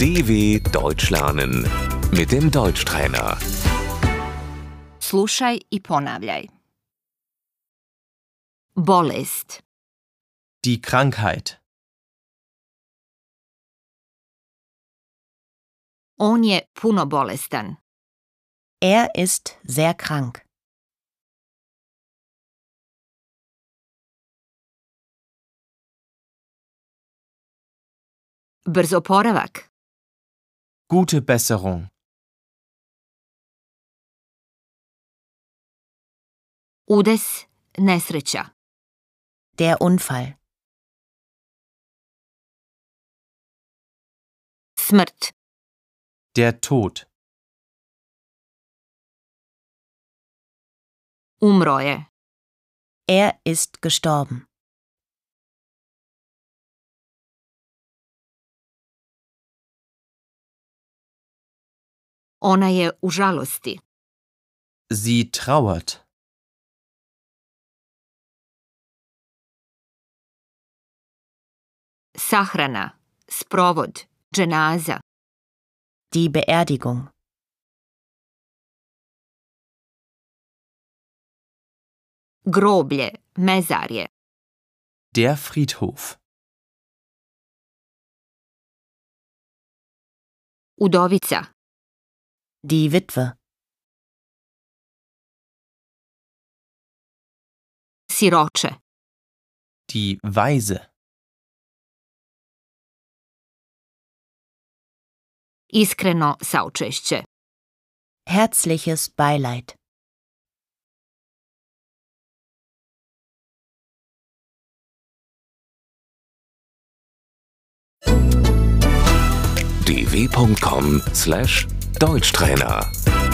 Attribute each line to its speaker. Speaker 1: DW Deutsch lernen mit dem Deutschtrainer.
Speaker 2: Slušaj i ponavljaj. Bolest,
Speaker 3: Die Krankheit.
Speaker 2: on je puno bolestan.
Speaker 4: Er ist sehr krank.
Speaker 2: Brz oporavak,
Speaker 3: Gute Besserung.
Speaker 2: udes, nesreća,
Speaker 4: Der Unfall.
Speaker 2: smrt,
Speaker 3: Der Tod.
Speaker 2: umro je,
Speaker 4: Er ist gestorben.
Speaker 2: ona je u žalosti,
Speaker 3: Sie trauert.
Speaker 2: sahrana, sprovod, dženaza,
Speaker 4: Die Beerdigung.
Speaker 2: groblje, mezarje,
Speaker 3: Der Friedhof.
Speaker 2: udovica,
Speaker 4: Die Witwe.
Speaker 2: siroče,
Speaker 3: Die Weise.
Speaker 2: iskreno saučešće,
Speaker 4: Herzliches Beileid.
Speaker 1: dw.com/deutschtrainer